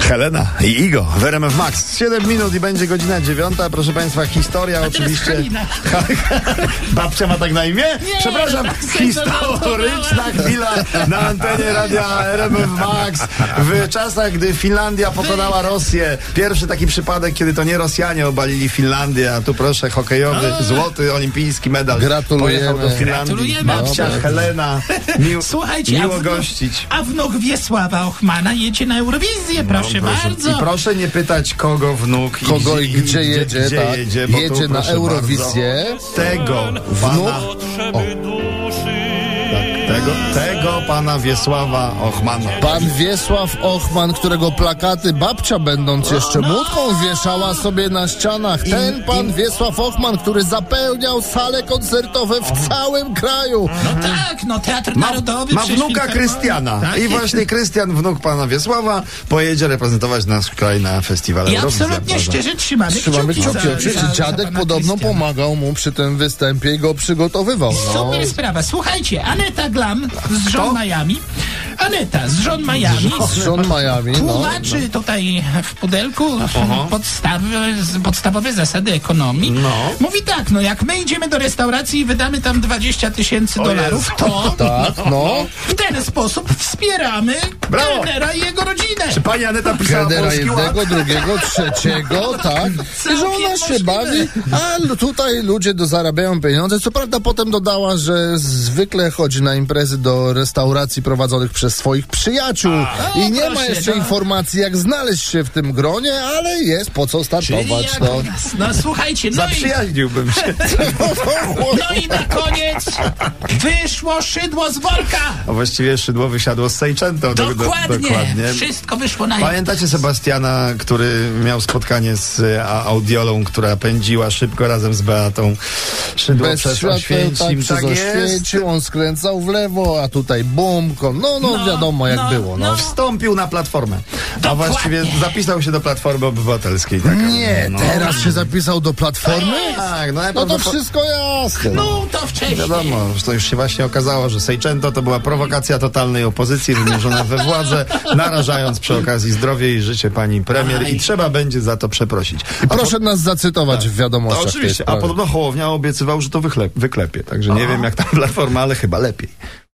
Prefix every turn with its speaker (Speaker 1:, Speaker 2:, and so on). Speaker 1: Helena i Igo w RMF Max. 7 minut i będzie godzina 9. Proszę Państwa, historia oczywiście.
Speaker 2: Halina.
Speaker 1: Babcia ma tak na imię? Przepraszam, historyczna
Speaker 2: tak
Speaker 1: chwila na antenie radia RMF Max. W czasach, gdy Finlandia pokonała Rosję. Pierwszy taki przypadek, kiedy to nie Rosjanie obalili Finlandię, a tu proszę, hokejowy, złoty olimpijski medal.
Speaker 3: Gratulujemy.
Speaker 1: Pojechał do Finlandii.
Speaker 2: Gratulujemy.
Speaker 1: Babcia Helena. Mił,
Speaker 2: Słuchajcie,
Speaker 1: miło
Speaker 2: a, wnuk,
Speaker 1: gościć.
Speaker 2: a wnuk Wiesława Ochmana jedzie na Eurowizję, proszę, bardzo.
Speaker 1: I proszę nie pytać, kogo wnuk
Speaker 3: Kogo i
Speaker 1: gdzie-
Speaker 3: gdzie jedzie,
Speaker 1: gdzie
Speaker 3: tak?
Speaker 1: jedzie, bo
Speaker 3: jedzie
Speaker 1: tu,
Speaker 3: na
Speaker 1: proszę
Speaker 3: Eurowizję.
Speaker 1: bardzo, Tego
Speaker 3: Wnuk?
Speaker 1: pana, Tak, tego, tego pana Wiesława Ochmana.
Speaker 3: Pan Wiesław Ochman, którego plakaty babcia będąc jeszcze młotką wieszała sobie na ścianach. Ten pan Wiesław Ochman, który zapełniał sale koncertowe w całym kraju.
Speaker 2: No tak, no Teatr
Speaker 1: Ma,
Speaker 2: Narodowy.
Speaker 1: ma
Speaker 2: przecież
Speaker 1: wnuka
Speaker 2: filmował.
Speaker 1: Krystiana
Speaker 2: Tak
Speaker 1: i
Speaker 2: jest.
Speaker 1: właśnie Krystian, wnuk pana Wiesława, pojedzie reprezentować nasz kraj na festiwale
Speaker 2: I
Speaker 1: Eurowizja,
Speaker 2: absolutnie
Speaker 1: proszę.
Speaker 2: szczerze trzymamy
Speaker 3: Trzymamy
Speaker 2: kciuki.
Speaker 3: kciuki,
Speaker 2: za- za-
Speaker 3: oczywiście.
Speaker 2: za
Speaker 3: Dziadek
Speaker 2: pana
Speaker 3: podobno
Speaker 2: Krystiana.
Speaker 3: pomagał mu przy tym występie i go przygotowywał. No.
Speaker 2: Super sprawa. Słuchajcie, Aneta Glam z żon Miami. Aneta z żon Miami.
Speaker 3: Z żon Miami, no.
Speaker 2: Tłumaczy tutaj w pudelku podstawy, z- podstawowe zasady ekonomii. Mówi tak, no jak my idziemy do restauracji i wydamy tam 20 tysięcy dolarów, to
Speaker 3: Tak, no.
Speaker 2: w ten sposób wspieramy
Speaker 1: Brawo.
Speaker 2: kelnera i jego rodzinę.
Speaker 1: Czy pani Aneta pisała
Speaker 3: Kedera
Speaker 1: polski ład?
Speaker 2: No
Speaker 3: jednego, drugiego, trzeciego, tak. I że ona się
Speaker 2: możliwe.
Speaker 3: bawi, a l- tutaj ludzie do zarabiają pieniądze. Co prawda potem dodała, że zwykle chodzi na imprezy do restauracji prowadzonych przez swoich przyjaciół. I nie ma
Speaker 2: proszę,
Speaker 3: jeszcze
Speaker 2: no.
Speaker 3: informacji, jak znaleźć się w tym gronie, ale jest po co
Speaker 2: Czyli
Speaker 3: startować.
Speaker 2: jak
Speaker 3: No.
Speaker 2: u nas. No słuchajcie, no i,
Speaker 1: Zaprzyjaźniłbym się.
Speaker 2: no i na koniec wyszło szydło z worka.
Speaker 1: A właściwie szydło wysiadło z Sejczętą. Tak, Do- do-
Speaker 2: Dokładnie.
Speaker 1: dokładnie.
Speaker 2: Wszystko wyszło na
Speaker 1: Pamiętacie Sebastiana, który miał spotkanie z e, a- audiolą, która pędziła szybko razem z Beatą Szydło
Speaker 3: Bez
Speaker 1: przez
Speaker 3: światła, tak,
Speaker 1: Oświęcim.
Speaker 3: przez
Speaker 1: Tak, jest.
Speaker 3: Oświęcim, on skręcał w lewo, a tutaj bumko. No, no,
Speaker 2: No,
Speaker 3: wiadomo jak
Speaker 2: no,
Speaker 3: było. No.
Speaker 2: no.
Speaker 1: Wstąpił na Platformę. A
Speaker 2: Dokładnie.
Speaker 1: właściwie zapisał się do Platformy Obywatelskiej. Tak?
Speaker 3: Nie,
Speaker 1: No.
Speaker 3: teraz się zapisał do platformy?
Speaker 1: Tak, no,
Speaker 3: No to
Speaker 1: najprawdopod-
Speaker 3: wszystko jasne.
Speaker 2: No to wcześniej.
Speaker 1: Wiadomo, że to już się właśnie okazało, że Sejczęto to była prowokacja totalnej opozycji wymierzona we władzę, narażając przy okazji zdrowie i życie pani premier i trzeba będzie za to przeprosić. A
Speaker 3: Proszę nas zacytować w
Speaker 1: po-
Speaker 3: wiadomościach.
Speaker 1: to
Speaker 3: tej
Speaker 1: No, oczywiście, a
Speaker 3: sprawy.
Speaker 1: podobno Hołownia obiecywał, że to wychle- wyklepie, także nie wiem jak tam platforma, ale chyba lepiej.